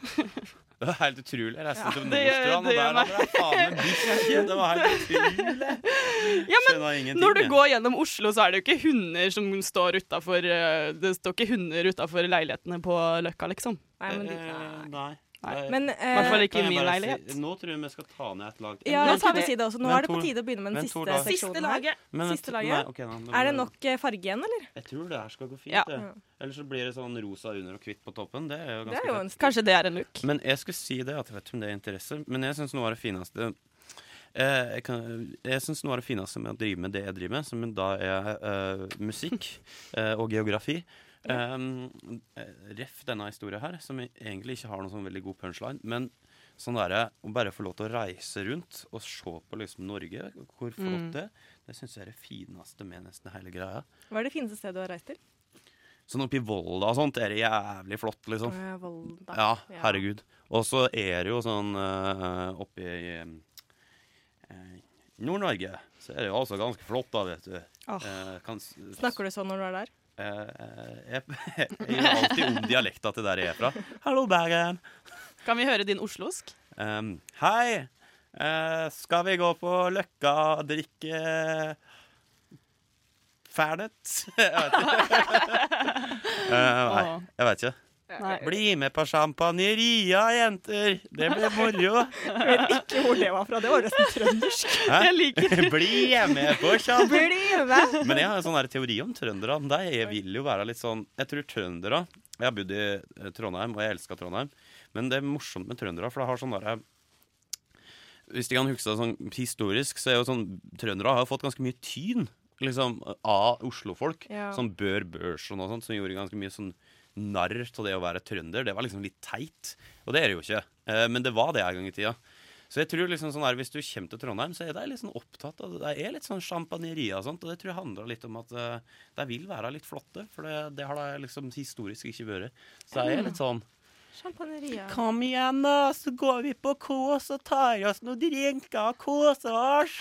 S5: Det var helt utrolig. Jeg reiste til
S4: det gjør-
S5: Nordstrand, og
S4: det
S5: der
S4: gjør
S5: hadde jeg faen meg bikkje. Det var helt utrolig.
S4: Ja, men
S5: Skjønner ingenting.
S4: når du
S5: jeg.
S4: går gjennom Oslo, så er det jo ikke hunder som står utafor eh, Det står ikke hunder utafor leilighetene på Løkka, liksom.
S3: Nei, men,
S5: Eh,
S3: de, nei.
S5: Nei.
S4: Nei.
S3: men
S4: I hvert fall
S3: eh,
S4: ikke
S5: Kan
S4: i
S5: jeg
S4: min
S5: bare si-
S4: leilighet.
S5: nå tror jeg vi skal ta ned et lag.
S3: ja,
S5: Men-
S3: la vi si det også. Nå
S5: men
S3: er det på
S5: Tor-
S3: tide å begynne med
S5: men
S3: den
S5: Tor,
S3: siste
S5: da-
S4: Siste
S3: seksjonen. her.
S4: laget.
S5: men-
S3: siste laget.
S5: Nei, ok, nei,
S3: Er det nok eh, farge igjen, eller?
S5: Jeg tror det her skal gå fint.
S4: Ja.
S5: det. Eller så blir det sånn rosa under og hvitt på toppen. Det er jo
S3: Det
S5: ganske
S3: er jo
S5: fett.
S3: en stil.
S4: Kanskje det er en look.
S5: Men jeg skulle si det, at jeg vet ikke om det er interesse, men jeg syns noe av det fineste eh, jeg, kan- jeg synes noe av det fineste med å drive med det jeg driver med, som da er eh, musikk *laughs* eh, og geografi um, eh, Ref denne historien her, som egentlig ikke har noen sånn veldig god punchline, men sånn derre å bare få lov til å reise rundt og se på liksom Norge, hvor flott det er, det syns jeg er det fineste med nesten hele greia.
S3: Hva er det fineste stedet du har reist til?
S5: Sånn oppi Volda og sånt er det jævlig flott, liksom.
S3: Eh, Volda.
S5: Ja, herregud. Og så er det jo sånn eh, oppe i eh, Nord-Norge så er det jo altså ganske flott, da, vet du. Eh,
S4: Åh.
S3: Snakker du sånn når du er der?
S5: *laughs* jeg, jeg gjør alltid om dialekta til der jeg er fra. Hallo, Bergen.
S4: Kan vi høre din oslosk?
S5: Em, Ehm, hei. Eh, skal vi gå på Løkka og drikke Fernet? *laughs* jeg vet ikke.
S4: *laughs*
S5: Eh, nei,
S4: Åh.
S5: jeg vet ikke. Bli med på sjampanjeria, jenter! Det blir moro.
S3: Ikke hvor det var fra. Det var nesten trøndersk.
S5: Hæ?
S4: Jeg liker det.
S5: *laughs* Bli hjemme på sjampo!
S3: Blir det hjemme?
S5: Men jeg har en sånn her teori om trøndere. De jeg vil jo være litt sånn Jeg tror trøndere Jeg har bodd i eh, Trondheim, og jeg elsker Trondheim. Men det er morsomt med trøndere, for det har sånn derre Hvis de kan huske det sånn historisk, så er jo sånn Trøndere har jo fått ganske mye tyn liksom, av oslofolk.
S3: Ja.
S5: Sånn Bør Børson og sånt, som gjorde ganske mye sånn narr av det å være trønder. Det var liksom litt teit. Og det er det jo ikke. Eh, Men det var det en gang i tida. Så jeg tror liksom sånn her, Hvis du kommer til Trondheim, så er de litt sånn opptatt av det. De er litt sånn sjampanjeria og sånt, og det tror jeg handler litt om at eh, de vil være litt flotte. For det, det har de liksom historisk ikke vært. Så de er litt sånn
S3: Champagneria.
S5: Kom igjen, da, så går vi på kos og tar oss noen drinker og koser oss.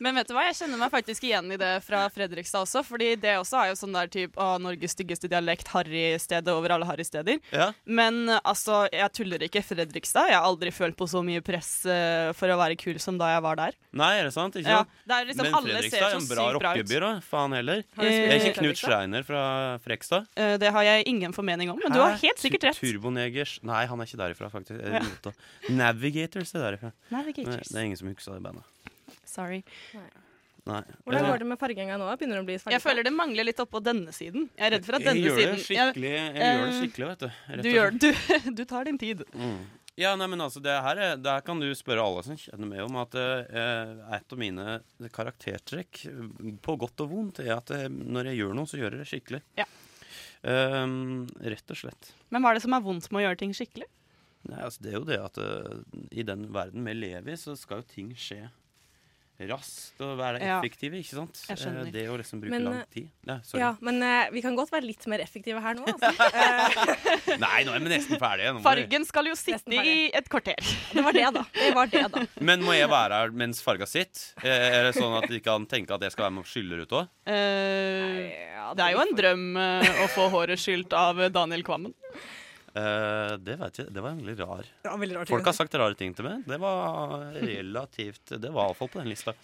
S4: Men vet du hva, jeg kjenner meg faktisk igjen i det fra Fredrikstad også. Fordi det også er jo sånn der type å, Norges styggeste dialekt, harrystedet over alle harrysteder.
S5: Ja.
S4: Men eh, altså, jeg tuller ikke. Fredrikstad. Jeg har aldri følt på så mye press eh, for å være kul som da jeg var der.
S5: Nei, er det sant? Ikke
S4: Ja,
S5: sant?
S4: det er liksom
S5: Men
S4: alle ser
S5: Fredrikstad er
S4: så
S5: en
S4: sykt
S5: bra
S4: bra ut.
S5: rockeby, da. Faen
S4: *laughs*
S5: heller.
S3: Har du
S4: Eh,
S5: Er
S3: spilt i
S5: ikke Knut
S3: Fredrikstad?
S5: Schreiner fra Frekstad?
S4: Eh, det har jeg ingen formening om, men du har helt sikkert rett.
S5: Turbonegers Nei, han er ikke derifra, faktisk. Eh, Rota. Navigators er derifra. Nei,
S4: Navigators.
S5: det er ingen som husker det bandet.
S4: Sorry.
S5: Nei.
S3: Hvordan
S5: Eh,
S3: går det med farginga nå? Begynner det å bli farget?
S4: Jeg føler det mangler litt oppå denne siden. Jeg er redd for at
S5: jeg
S4: denne
S5: gjør det
S4: siden
S5: skikkelig, jeg gjør det
S4: eh,
S5: skikkelig vet du.
S4: *laughs*
S5: Rett
S4: Du,
S5: og
S4: gjør,
S5: slett.
S4: du, du tar din tid.
S5: Mm. Ja, nei, men altså, det her, er- det her kan du spørre alle som kjenner meg om at eh, et av mine karaktertrekk, eh, på godt og vondt, er at eh, når jeg gjør noe, så gjør jeg det skikkelig.
S4: Ja.
S5: Ehm, rett og slett.
S4: Men hva er det som er vondt med å gjøre ting skikkelig?
S5: Nei, altså, det er jo det at eh, i den verden vi lever i, så skal jo ting skje raskt og være
S4: Ja.
S5: effektive, ikke sant?
S4: Jeg skjønner.
S5: Eh, det å liksom bruke
S3: Men, eh,
S5: lang tid. Nei, sorry.
S3: Ja, men eh, vi kan godt være litt mer effektive her nå. Altså.
S5: *laughs* Nei, nå er vi nesten ferdige. Nå må vi-
S4: Fargen skal jo
S3: Nesten
S4: sitte i
S3: ferdig.
S4: et *laughs* kvarter.
S3: Det var det, da. Det var det,
S4: *laughs*
S3: da.
S5: Men må jeg være her mens farga sitter? Eh, Er det sånn at de kan tenke at jeg skal være med og skylle ut òg?
S4: Eh, det er jo en drøm eh, å få håret skylt av Daniel Kvammen.
S5: Eh, det vet jeg. Det var egentlig rar.
S3: Det var veldig rart.
S5: Folk har sagt rare ting til meg. Det var relativt Det var iallfall på den lista.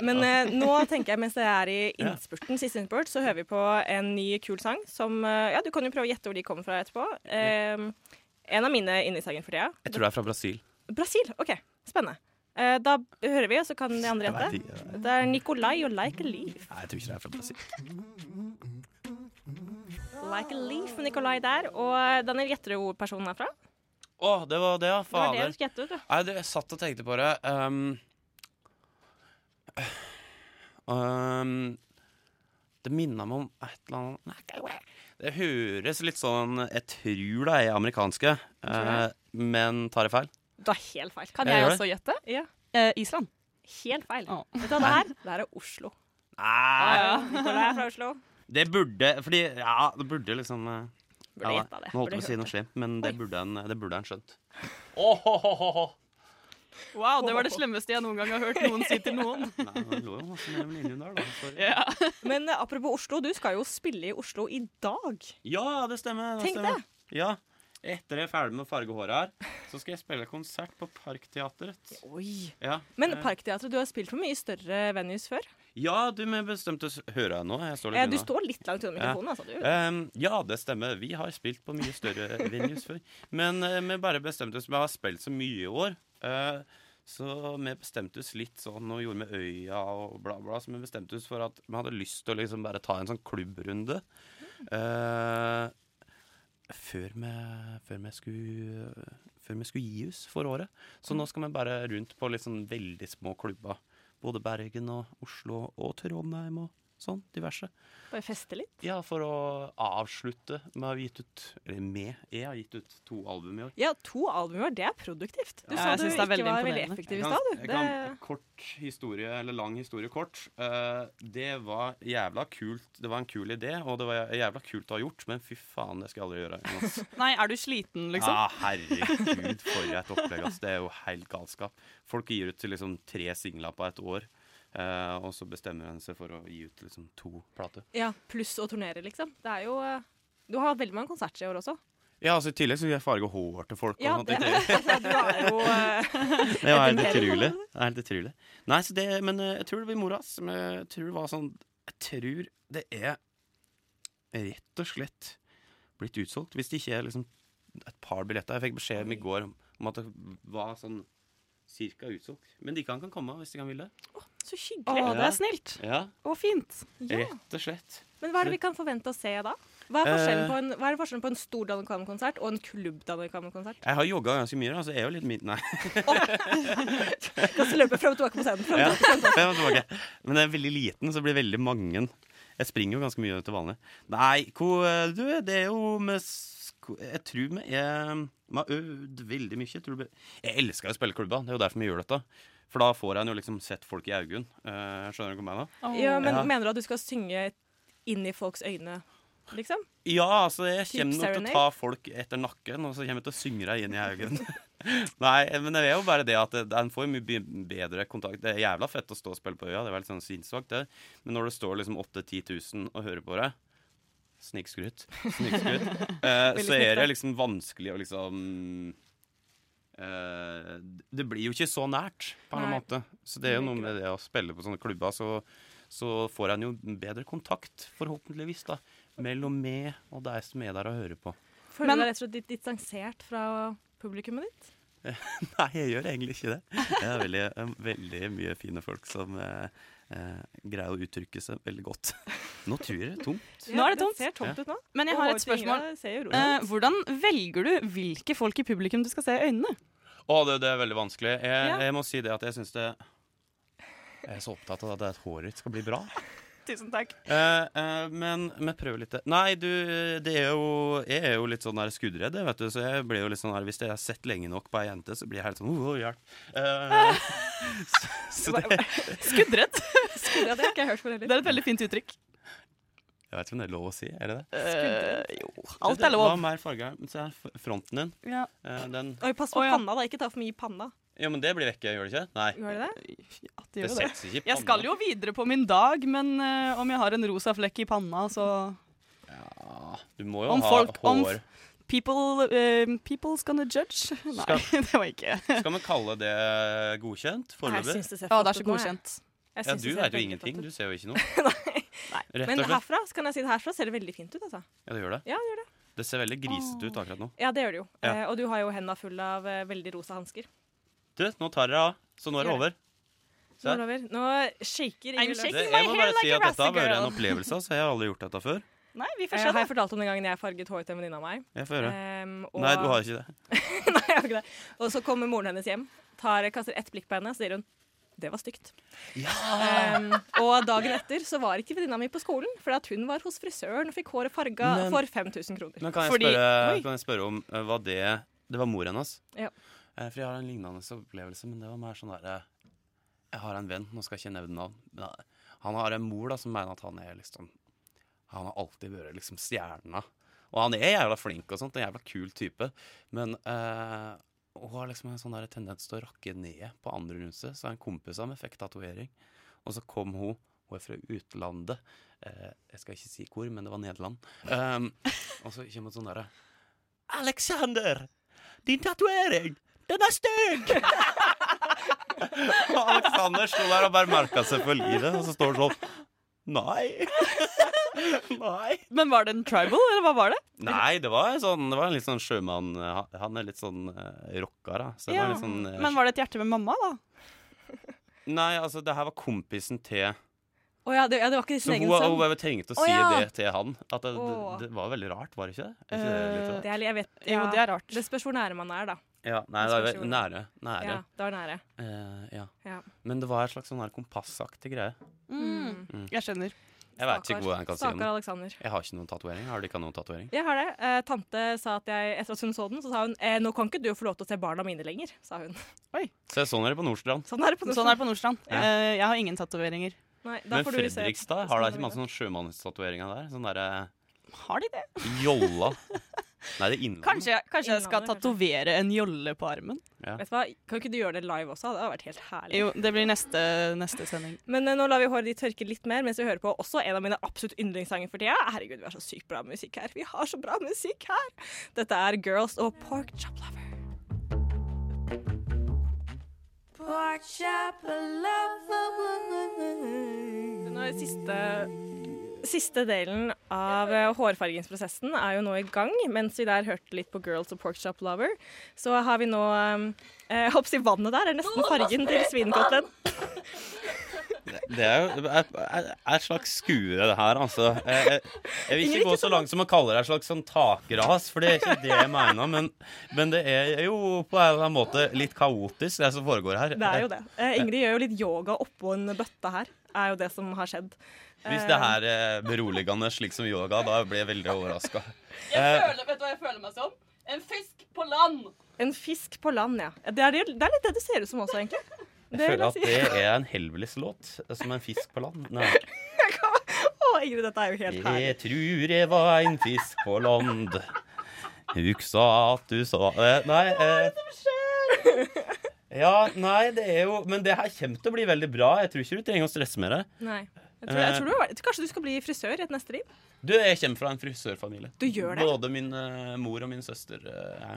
S3: Men eh, nå tenker jeg, mens jeg er i innspurten, siste innspurt, så hører vi på en ny kul sang som eh, Ja, du kan jo prøve å gjette hvor de kommer fra etterpå. Eh, en av mine yndlingssanger for tida.
S5: Jeg tror det er fra Brasil.
S3: Brasil. OK, spennende. Eh, da hører vi, og så kan de andre
S5: Jeg vet
S3: gjette.
S5: ikke.
S3: Det er Nicolay og Like a Leaf.
S5: Nei, jeg tror ikke det er fra Brasil.
S3: Like a Leaf med Nicolay der. Og eh, Daniel, gjetter du hvor personen er fra?
S5: Å, det var det, ja.
S3: Det var det
S5: Fader.
S3: du skulle gjette ut, du.
S5: Nei, det, jeg satt og tenkte på det. ehm, ehm, det minner meg om et eller annet Nei, Det høres litt sånn Jeg tror det er amerikanske, eh, men tar jeg feil?
S3: Du har helt feil.
S4: Kan
S5: Jeg
S4: jeg
S5: gjør det.
S4: også gjette?
S3: Ja.
S4: Eh, Island.
S3: Helt feil.
S4: Å.
S3: Vet du hva det er? Det her er Oslo.
S5: Nei,
S3: Nicolay er fra Oslo.
S5: det burde Fordi, ja, det burde liksom eh,
S3: Burde
S5: Ja,
S3: gjette
S5: nei,
S3: det.
S5: Nå holdt
S3: Burde
S5: jeg på å si
S3: hørt
S5: noe slemt, men det
S3: Oi.
S5: burde han, det burde han
S3: *laughs*
S5: skjønt.
S4: Wow, det var det slemmeste jeg noen gang har hørt noen si til noen. *laughs*
S5: Nei, det lå jo masse mellom linjene der, da. Sorry.
S4: Ja.
S3: Men eh, apropos Oslo, du skal jo spille i Oslo i dag.
S5: Ja, det stemmer. Det
S3: Tenk
S5: stemmer. Ja. Etter jeg er ferdig med å farge håret her, så skal jeg spille konsert på Parkteatret.
S3: Oi.
S5: Ja,
S3: Men
S5: eh,
S3: Parkteatret, du har spilt for mye større venues før.
S5: ja du med bestemte s- Hører jeg nå? Jeg står
S3: Eh,
S5: litt
S3: Du
S5: unna.
S3: står litt langt unna mikrofonen, altså. Du.
S5: Ehm, ja, det stemmer. Vi har spilt på mye større venues før. Men eh, vi bare bestemte oss Vi har spilt så mye i år. eh, så vi bestemte oss litt sånn og gjorde med øya og bla, bla. Så vi bestemte oss for at vi hadde lyst til å liksom bare ta en sånn klubbrunde. eh, før, vi, før, vi skulle, før vi skulle gi oss for året. Så nå skal vi bare rundt på litt sånn veldig små klubber. Både Bergen og Oslo og Trondheim og sånn diverse.
S3: Bare feste litt.
S5: Ja, for å avslutte med å ha gitt ut Eller med, jeg har gitt ut to album i år.
S3: Ja, to albumer, det er produktivt. Du
S4: Ja,
S3: sa
S4: jeg
S3: du
S4: synes
S3: ikke
S4: det er
S3: var
S4: veldig
S3: veldig
S4: imponerende.
S3: effektiv i
S5: kan-
S3: stad, du.
S5: jeg
S3: Det,
S5: kan, kort historie, eller lang historie kort. Eh, det var jævla kult. Det var en kul idé, og det var jævla kult å ha gjort, men fy faen, det skal jeg aldri gjøre.
S3: *laughs*
S5: igjen, ass.
S4: Nei, er du sliten, liksom?
S5: Ja, herregud, for et opplegg. Ass. Det er jo helt galskap. Folk gir ut liksom tre singler på et år, eh, og så bestemmer en seg for å gi ut liksom to plater.
S3: ja, pluss å turnere, liksom. Det er jo eh, Du har hatt veldig mange konserter i år også.
S5: Ja, altså I tillegg så vil jeg farge hår til folk. og
S3: Ja,
S5: sånt.
S3: det,
S5: Det-
S3: *laughs* altså, du er jo eh,
S5: Det er helt
S3: Etter mer.
S5: utrolig. Det er helt utrolig. Nei, så det, men eh, jeg tror det blir moro, ass. Men jeg tror det var sånn Jeg tror det er rett og slett blitt utsolgt. Hvis det ikke er liksom et par billetter. Jeg fikk beskjed om i går om- om at det var sånn cirka utsolgt. Men de kan, kan komme hvis de kan vil det.
S3: så
S4: Å,
S3: hyggelig.
S4: det er snilt.
S5: Ja,
S4: Og fint.
S5: rett og slett.
S3: Men hva er det vi kan forvente å se da? Hva er forskjellen på
S5: Eh.
S3: en, hva er forskjellen på en stor Daniel Kvammen-konsert og en klubb Daniel Kvammen-konsert?
S5: Jeg har jogga ganske mye, da, så jeg er jo litt min... Nei.
S3: Kan så løpe frem og tilbake på scenen.
S5: *laughs*
S3: Frem.
S5: Ja, fem og tilbake. Men jeg er veldig liten, så det blir veldig mange. Jeg springer jo ganske mye til vanlig. Nei, ko, du, det er jo med sko, Jeg tror vi er Vi har øvd veldig mye. Jeg, tror det blir- jeg elsker jo å spille i klubba. Det er jo derfor vi gjør dette. For da får en jo liksom sett folk i øynene. Eh, skjønner du hva jeg mener?
S3: Ja. men
S5: Ja.
S3: Mener du at du skal synge inn i folks øyne, liksom?
S5: Ja, altså, jeg
S3: Typ
S5: kommer nok til å
S3: serenade?
S5: ta folk etter nakken, og så kommer jeg til å synge deg inn i øynene. *laughs* Nei, men det er jo bare det at det- en får jo mye be- bedre kontakt. Det er jævla fett å stå og spille på øya, det er veldig sånn sinnssvakt, det. Men når det står liksom 8-10 000 og hører på deg Snikskryt. Snikskryt. Eh, så er det liksom vanskelig å liksom eh, Det blir jo ikke så nært, på en
S3: Nei.
S5: måte. Så det er jo
S3: Det
S5: noe
S3: blir ikke
S5: med det å spille på sånne klubber, så, så får en jo bedre kontakt, forhåpentligvis, da. Mellom meg og deg som er der og hører på.
S3: Føler
S4: Men-
S3: du deg rett og slett litt distansert fra publikummet ditt?
S5: *laughs* Nei, jeg gjør egentlig ikke det. Det er veldig, eh, veldig mye fine folk som eh, eh, greier å uttrykke seg veldig godt. *laughs* Nå tror jeg det er tomt.
S4: Nå er det tomt.
S3: ser tomt ut nå.
S4: Men jeg har et spørsmål. Eh, hvordan velger du hvilke folk i publikum du skal se i øynene?
S5: Å, det, det er veldig vanskelig. Jeg,
S4: Ja.
S5: jeg må si det at jeg syns det Jeg er så opptatt av at det håret ditt skal bli bra.
S4: Tusen
S3: *laughs*
S4: takk.
S5: Eh, eh, men vi prøver litt det. Nei, du, det er jo Jeg er jo litt sånn der skuddredd, jeg, vet du. Så jeg blir jo litt sånn der Hvis jeg har sett lenge nok på ei jente, så blir jeg helt sånn Åh, hjelp. Eh, *laughs* så, så det
S4: Skuddredd.
S3: det hadde jeg ikke hørt for
S4: *laughs* Det *laughs* er et veldig fint uttrykk.
S5: Jeg vet ikke om det er lov å si, er det det?
S4: Eh, jo, alt er
S5: Hva
S4: lov.
S5: mer farge? Se her, f- fronten din.
S4: Ja.
S5: Eh, den
S3: Oi, pass på
S4: Å, ja.
S3: panna, da. Ikke ta for mye i panna.
S5: Ja, men det blir vekke, gjør det ikke? Nei.
S3: Gjør det det?
S4: Ja, det
S5: Det
S4: gjør jo det.
S5: sexy ikke i
S4: Jeg
S5: panna.
S4: skal jo videre på min dag, men eh, om jeg har en rosa flekk i panna, så
S5: Ja, Du må jo
S4: Om
S5: ha
S4: folk- om
S5: hår.
S4: People, eh, People's gonna judge. *laughs* Nei, det var ikke
S5: *laughs* Skal vi kalle det godkjent foreløpig?
S3: det ser
S4: Ja, det er så godkjent.
S5: Ja, du vet jo ingenting. Du ser
S4: *laughs*
S5: jo ikke noe. Rett
S3: Men
S5: og slett.
S3: herfra så kan jeg si det herfra ser det veldig fint ut, altså.
S5: Ja, det gjør det.
S3: Ja, det gjør det.
S5: Det ser veldig grisete ut akkurat nå.
S3: Ja, det gjør det jo.
S5: Ja.
S3: Eh, og du har jo henda fulle av eh, veldig rosa hansker.
S5: Du, nå tar dere av. Så nå er det over. Se.
S3: Nå, Oliver, nå shaker
S4: I'm
S3: Ingvild Eh, også.
S4: shaking.
S5: Det,
S4: Taking my
S5: jeg må
S4: hair
S5: bare si
S4: like a
S5: at dette har vært
S4: rassegirl.
S5: en opplevelse. Altså. Jeg har aldri gjort dette før.
S4: Nei, vi
S3: Eh,
S4: får se,
S3: har
S4: da.
S3: jeg fortalt om den gangen jeg farget håret til en venninne av meg?
S5: Jeg får høre.
S3: Ehm, og,
S5: Nei, du har ikke det.
S3: *laughs* Nei, jeg har ikke det. Og så kommer moren hennes hjem, tar, kaster ett blikk på henne, så sier hun det var stygt. Ehm, og dagen etter så var ikke venninna mi på skolen, fordi at hun var hos frisøren og fikk håret farga
S5: Men-
S3: for 5000 kroner.
S5: Men kan jeg
S4: Fordi-
S5: spørre,
S4: Oi.
S5: kan jeg spørre om eh, hva det Det var mor hennes.
S3: Ja.
S5: Eh, For jeg har en lignende opplevelse, men det var mer sånn derre Jeg har en venn, nå skal jeg ikke nevne navn. Men han- han har en mor da som mener at han er liksom Han har alltid vært liksom stjerna. Og han er jævla flink og sånt, en jævla kul type. Men eh, hun har liksom en sånn der tendens til å rakke ned på andre rundt seg. Så en kompis av meg fikk tatovering, og så kom hun. Hun er fra utlandet. Eh, jeg skal ikke si hvor, men det var Nederland. Um, og så kommer det sånn derre Alexander! Din tatovering! Den er stygg! *laughs* og Alexander sto der og bare merka seg for livet, og så står han sånn Nei. Nei.
S4: Men var det en tribal, eller hva var det?
S5: Nei, det var, en sånn, det var en litt sånn sjømann eh, Han er litt sånn uh, rocka, da. Så det var litt sånn, eh,
S4: Men var det et hjerte med mamma, da?
S5: Nei, altså, det her var kompisen til
S3: Å ja, det, ja, det var ikke
S5: Så
S3: sin
S5: hun,
S3: egen
S5: hun,
S3: sønn.
S5: hun trengte å
S4: Å,
S5: si
S4: ja.
S5: det til han. At det, det,
S3: Å.
S5: det var veldig rart, var det ikke det? Er ikke det litt
S4: Eh,
S5: rart?
S3: Det er, jeg vet,
S4: Jo,
S3: ja.
S4: det er rart.
S3: Det spørs hvor nære man er, da.
S5: Ja,
S3: Jeg
S5: nei, det er
S3: skal
S5: vel-
S3: ikke
S5: nære. Nære.
S3: Ja, det var nære.
S5: Eh, ja.
S3: Ja.
S5: Men det var et slags sånn her kompassaktig greie.
S4: Mm. Jeg skjønner.
S5: Jeg vet ikke
S3: Stakkars-
S5: hvordan jeg kan si om
S3: Stakkar
S5: det.
S3: Alexander.
S5: Jeg har ikke noen tatovering. Har du ikke noen tatovering?
S3: Jeg har det. Eh, tante sa at jeg, etter at hun så den, så sa hun eh, nå kan ikke du få lov til å se barna mine lenger. sa hun. *laughs*
S5: Se, sånn er det på Nordstrand.
S3: Sånn er det på
S4: Sånn er det på Nordstrand.
S5: Ja.
S4: Eh, jeg har ingen tatoveringer.
S3: Nei, da
S5: Men
S3: får du se.
S5: Fredrikstad, har da ikke masse sånn sjømannstatoveringer der? Sånn derre
S4: Har de det?
S5: jolla. Nei, det er innlandet.
S4: Kanskje, jeg- kanskje jeg skal
S3: Innlandet, kanskje.
S4: tatovere en jolle på armen?
S3: Vet du hva, Kan ikke du gjøre det live også? Det hadde vært helt herlig.
S4: Jo, det blir neste, neste sending.
S3: Men eh, nå lar vi håret ditt tørke litt mer mens vi hører på også en av mine absolutt yndlingssanger for tida. Herregud, vi har så sykt bra musikk her. Vi har så bra musikk her! Dette er Girls og Pork Chop Lover. Nå, siste, siste delen av eh, hårfargingsprosessen er jo nå i gang. Mens vi der hørte litt på Girls og Pork Chop Lover, så har vi nå eh, Jeg håper å si vannet der er nesten fargen til svinekotelen.
S5: Det er jo det er, er, er et slags skue, det her, altså. Jeg, jeg, jeg vil ikke gå så langt som å kalle det et slags sånn takras, for det er ikke det jeg mener. Men, men det er jo på en eller annen måte litt kaotisk, det som foregår her.
S3: Det er *laughs* jo det. Eh, Ingrid gjør jo litt yoga oppå en bøtte her. Er jo det som har skjedd.
S5: Hvis det her er beroligende slik som yoga, da blir jeg veldig overraska.
S4: vet du hva jeg føler meg som? En fisk på land!
S3: En fisk på land, ja. Det er, det er litt det du ser ut som også, egentlig.
S5: Jeg
S3: Det vil
S5: føler at
S3: jeg si.
S5: det er en Helvetes-låt, som en fisk på land. Nei.
S3: Å, Ingrid, dette er jo helt herlig.
S5: Jeg trur jeg var en fisk på land. Huksa at du sa eh, Nei. Eh, ja, nei, det er jo Men det her kommer til å bli veldig bra. Jeg tror ikke du trenger å stresse med det.
S3: Nei. Jeg tror, jeg tror du, jeg tror kanskje du skal bli frisør i et neste liv?
S5: Du, jeg kommer fra en frisørfamilie.
S3: Du gjør det?
S5: Både min eh, mor og min søster eh,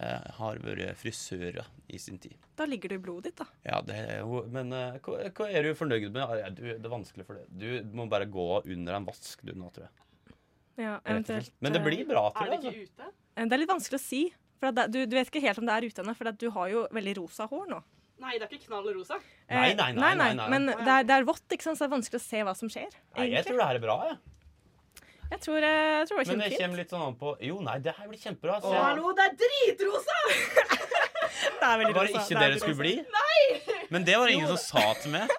S5: eh, har vært frisører i sin tid.
S3: Da ligger det i blodet ditt, da.
S5: Ja, det er jo Men eh, hva, hva er du fornøyd med? Ah, ja, Du, det er vanskelig for det. Du må bare gå under en vask, du nå, tror jeg.
S3: Ja,
S5: Rett og slett.
S3: eventuelt.
S5: Men det blir bra, tror jeg. altså.
S4: ute?
S3: Eh, Det er litt vanskelig å si. For at det, du, du vet ikke helt om det er ute ennå, for at du har jo veldig rosa hår nå.
S4: Nei, det er ikke knall rosa.
S3: Eh,
S5: Nei, nei, nei, nei, nei.
S3: Men det er, det er vått, ikke sant? så det er vanskelig å se hva som skjer.
S5: Nei, jeg
S3: egentlig.
S5: tror det her er bra, jeg.
S3: Jeg tror, eh, jeg tror det var
S5: Men det
S3: kjempefint.
S5: kommer litt sånn an på Jo, nei, det her blir kjempebra. altså. Se.
S4: det er
S5: *laughs*
S4: dritrosa!
S3: Det er veldig
S5: Var det
S3: rosa.
S5: ikke
S3: er
S5: det det
S3: veldig
S5: skulle
S3: rosa.
S5: bli? Men det var det ingen som sa til meg.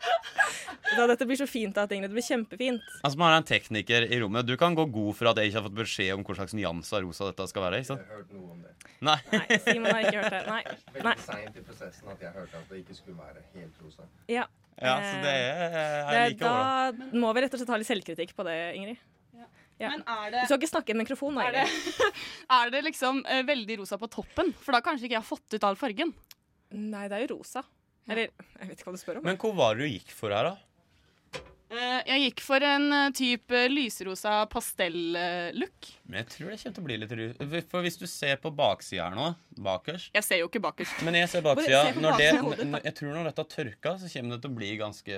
S3: Da, dette blir så fint, da, Ingrid. Det blir kjempefint.
S5: Altså, Man har en tekniker i rommet. Du kan gå god for at jeg ikke har fått beskjed om hva slags nyanser av rosa dette skal være. ikke sant?
S6: Jeg hørte noe om det.
S5: Nei.
S3: Nei, Simon har ikke hørt det. Nei. nei.
S6: Veldig seint i prosessen at jeg hørte at det ikke skulle være helt rosa.
S3: Ja.
S5: Ja, så det er
S3: Eh,
S5: Jeg
S3: Det-
S5: liker overraskende.
S3: da må vi rett og slett ha litt selvkritikk på det, Ingrid. Ja.
S4: Men er
S3: Du
S4: det,
S3: skal ikke snakke i en mikrofon, da,
S4: er det,
S3: Ingrid.
S4: er det liksom eh, veldig rosa på toppen? For da kanskje ikke jeg har fått ut all fargen.
S3: Nei, det er jo rosa. Eller jeg vet ikke hva du spør om.
S5: Men hvor var det du gikk for her, da?
S4: Eh, jeg gikk for en eh, type lyserosa pastell-look.
S5: Men jeg tror det kommer til å bli litt rus... For hvis du ser på baksida her nå, bakerst
S4: Jeg ser jo ikke bakerst.
S5: Men jeg ser
S3: Bare
S5: baksida.
S3: se på
S5: Når det,
S3: baksiden av hodet ditt, da.
S5: n- jeg tror når dette har tørka, så kommer det til å bli ganske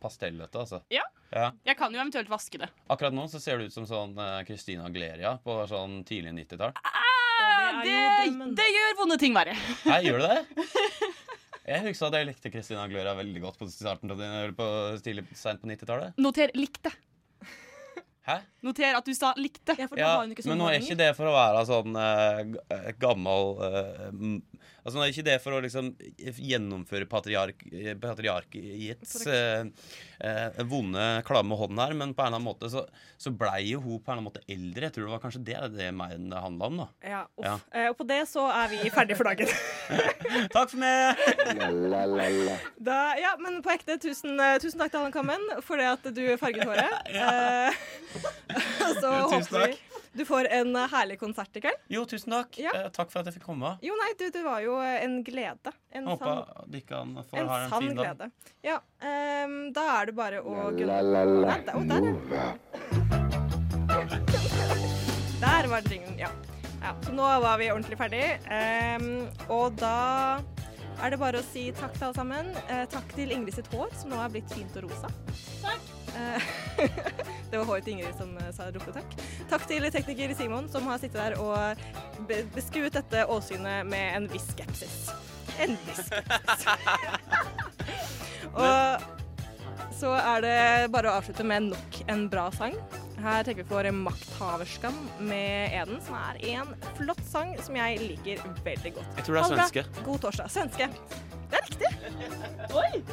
S5: pastellete, altså.
S4: Ja.
S5: Ja.
S4: Jeg kan jo eventuelt vaske det.
S5: Akkurat nå så ser det ut som sånn eh, Christina Gleria på sånn tidlig 90-tall.
S3: Ja, det er jo drømmen.
S4: det gjør vonde ting verre.
S5: Nei, gjør det det?
S3: *laughs*
S5: Jeg husker at jeg likte Christina Aguilera veldig godt på starten av den, eller på tidlig, sent på 90-tallet.
S4: Noter 'likte'.
S5: Hæ?
S4: Noter at du sa 'likte'.
S3: Ja, for da
S5: Ja,
S3: har hun ikke sånn så
S5: men nå er ikke det for å være sånn eh, g- eh, gammel eh, m- Altså, nå er ikke det for å liksom gjennomføre patriark, eh, patriarkiets eh, eh, vonde, klamme hånd her, men på en eller annen måte så, så blei jo hun på en eller annen måte eldre. Jeg tror det var kanskje det det mer enn det handla om, da.
S3: Ja, uff.
S5: Ja.
S3: Eh, og på det så er vi ferdige for dagen.
S5: Takk for meg!
S2: la la la la.
S3: Da, ja, men på ekte, tusen, eh, tusen takk til Allan Kammen for det at du farget håret. Eh,
S5: *laughs*
S3: *laughs* og så
S5: Tusen
S3: håper
S5: takk.
S3: vi du får en eh, herlig konsert i kveld.
S5: Jo, tusen takk.
S3: Ja.
S5: Eh, takk for at jeg fikk komme.
S3: Jo, nei, du, du var jo eh, en glede. En sann,
S5: Håper dere får
S3: en
S5: ha en
S3: sann
S5: fin dag.
S3: glede. Ja, ehm, da er det bare å
S2: La la la.
S3: Nei, der- å, der, ja.
S2: Nova.
S3: Der var det ringen, ja. ja. Så nå var vi ordentlig ferdig. Ehm, og da er det bare å si takk til alle sammen. Eh, takk til Ingrid sitt hår, som nå er blitt fint og rosa. Takk. Eh, *laughs* det var håret til Ingrid som eh, sa ropte takk. Takk til tekniker Simon, som har sittet der og be- beskuet dette åsynet med en viss skepsis. En viss
S7: *laughs*
S3: skepsis. og så er det bare å avslutte med nok en bra sang. Her tenker vi på vår Makthaverskam med Eden, som er en flott sang som jeg liker veldig godt.
S7: Jeg tror det er
S3: Ha bra.
S7: svenske.
S3: God torsdag. Svenske. Det er riktig.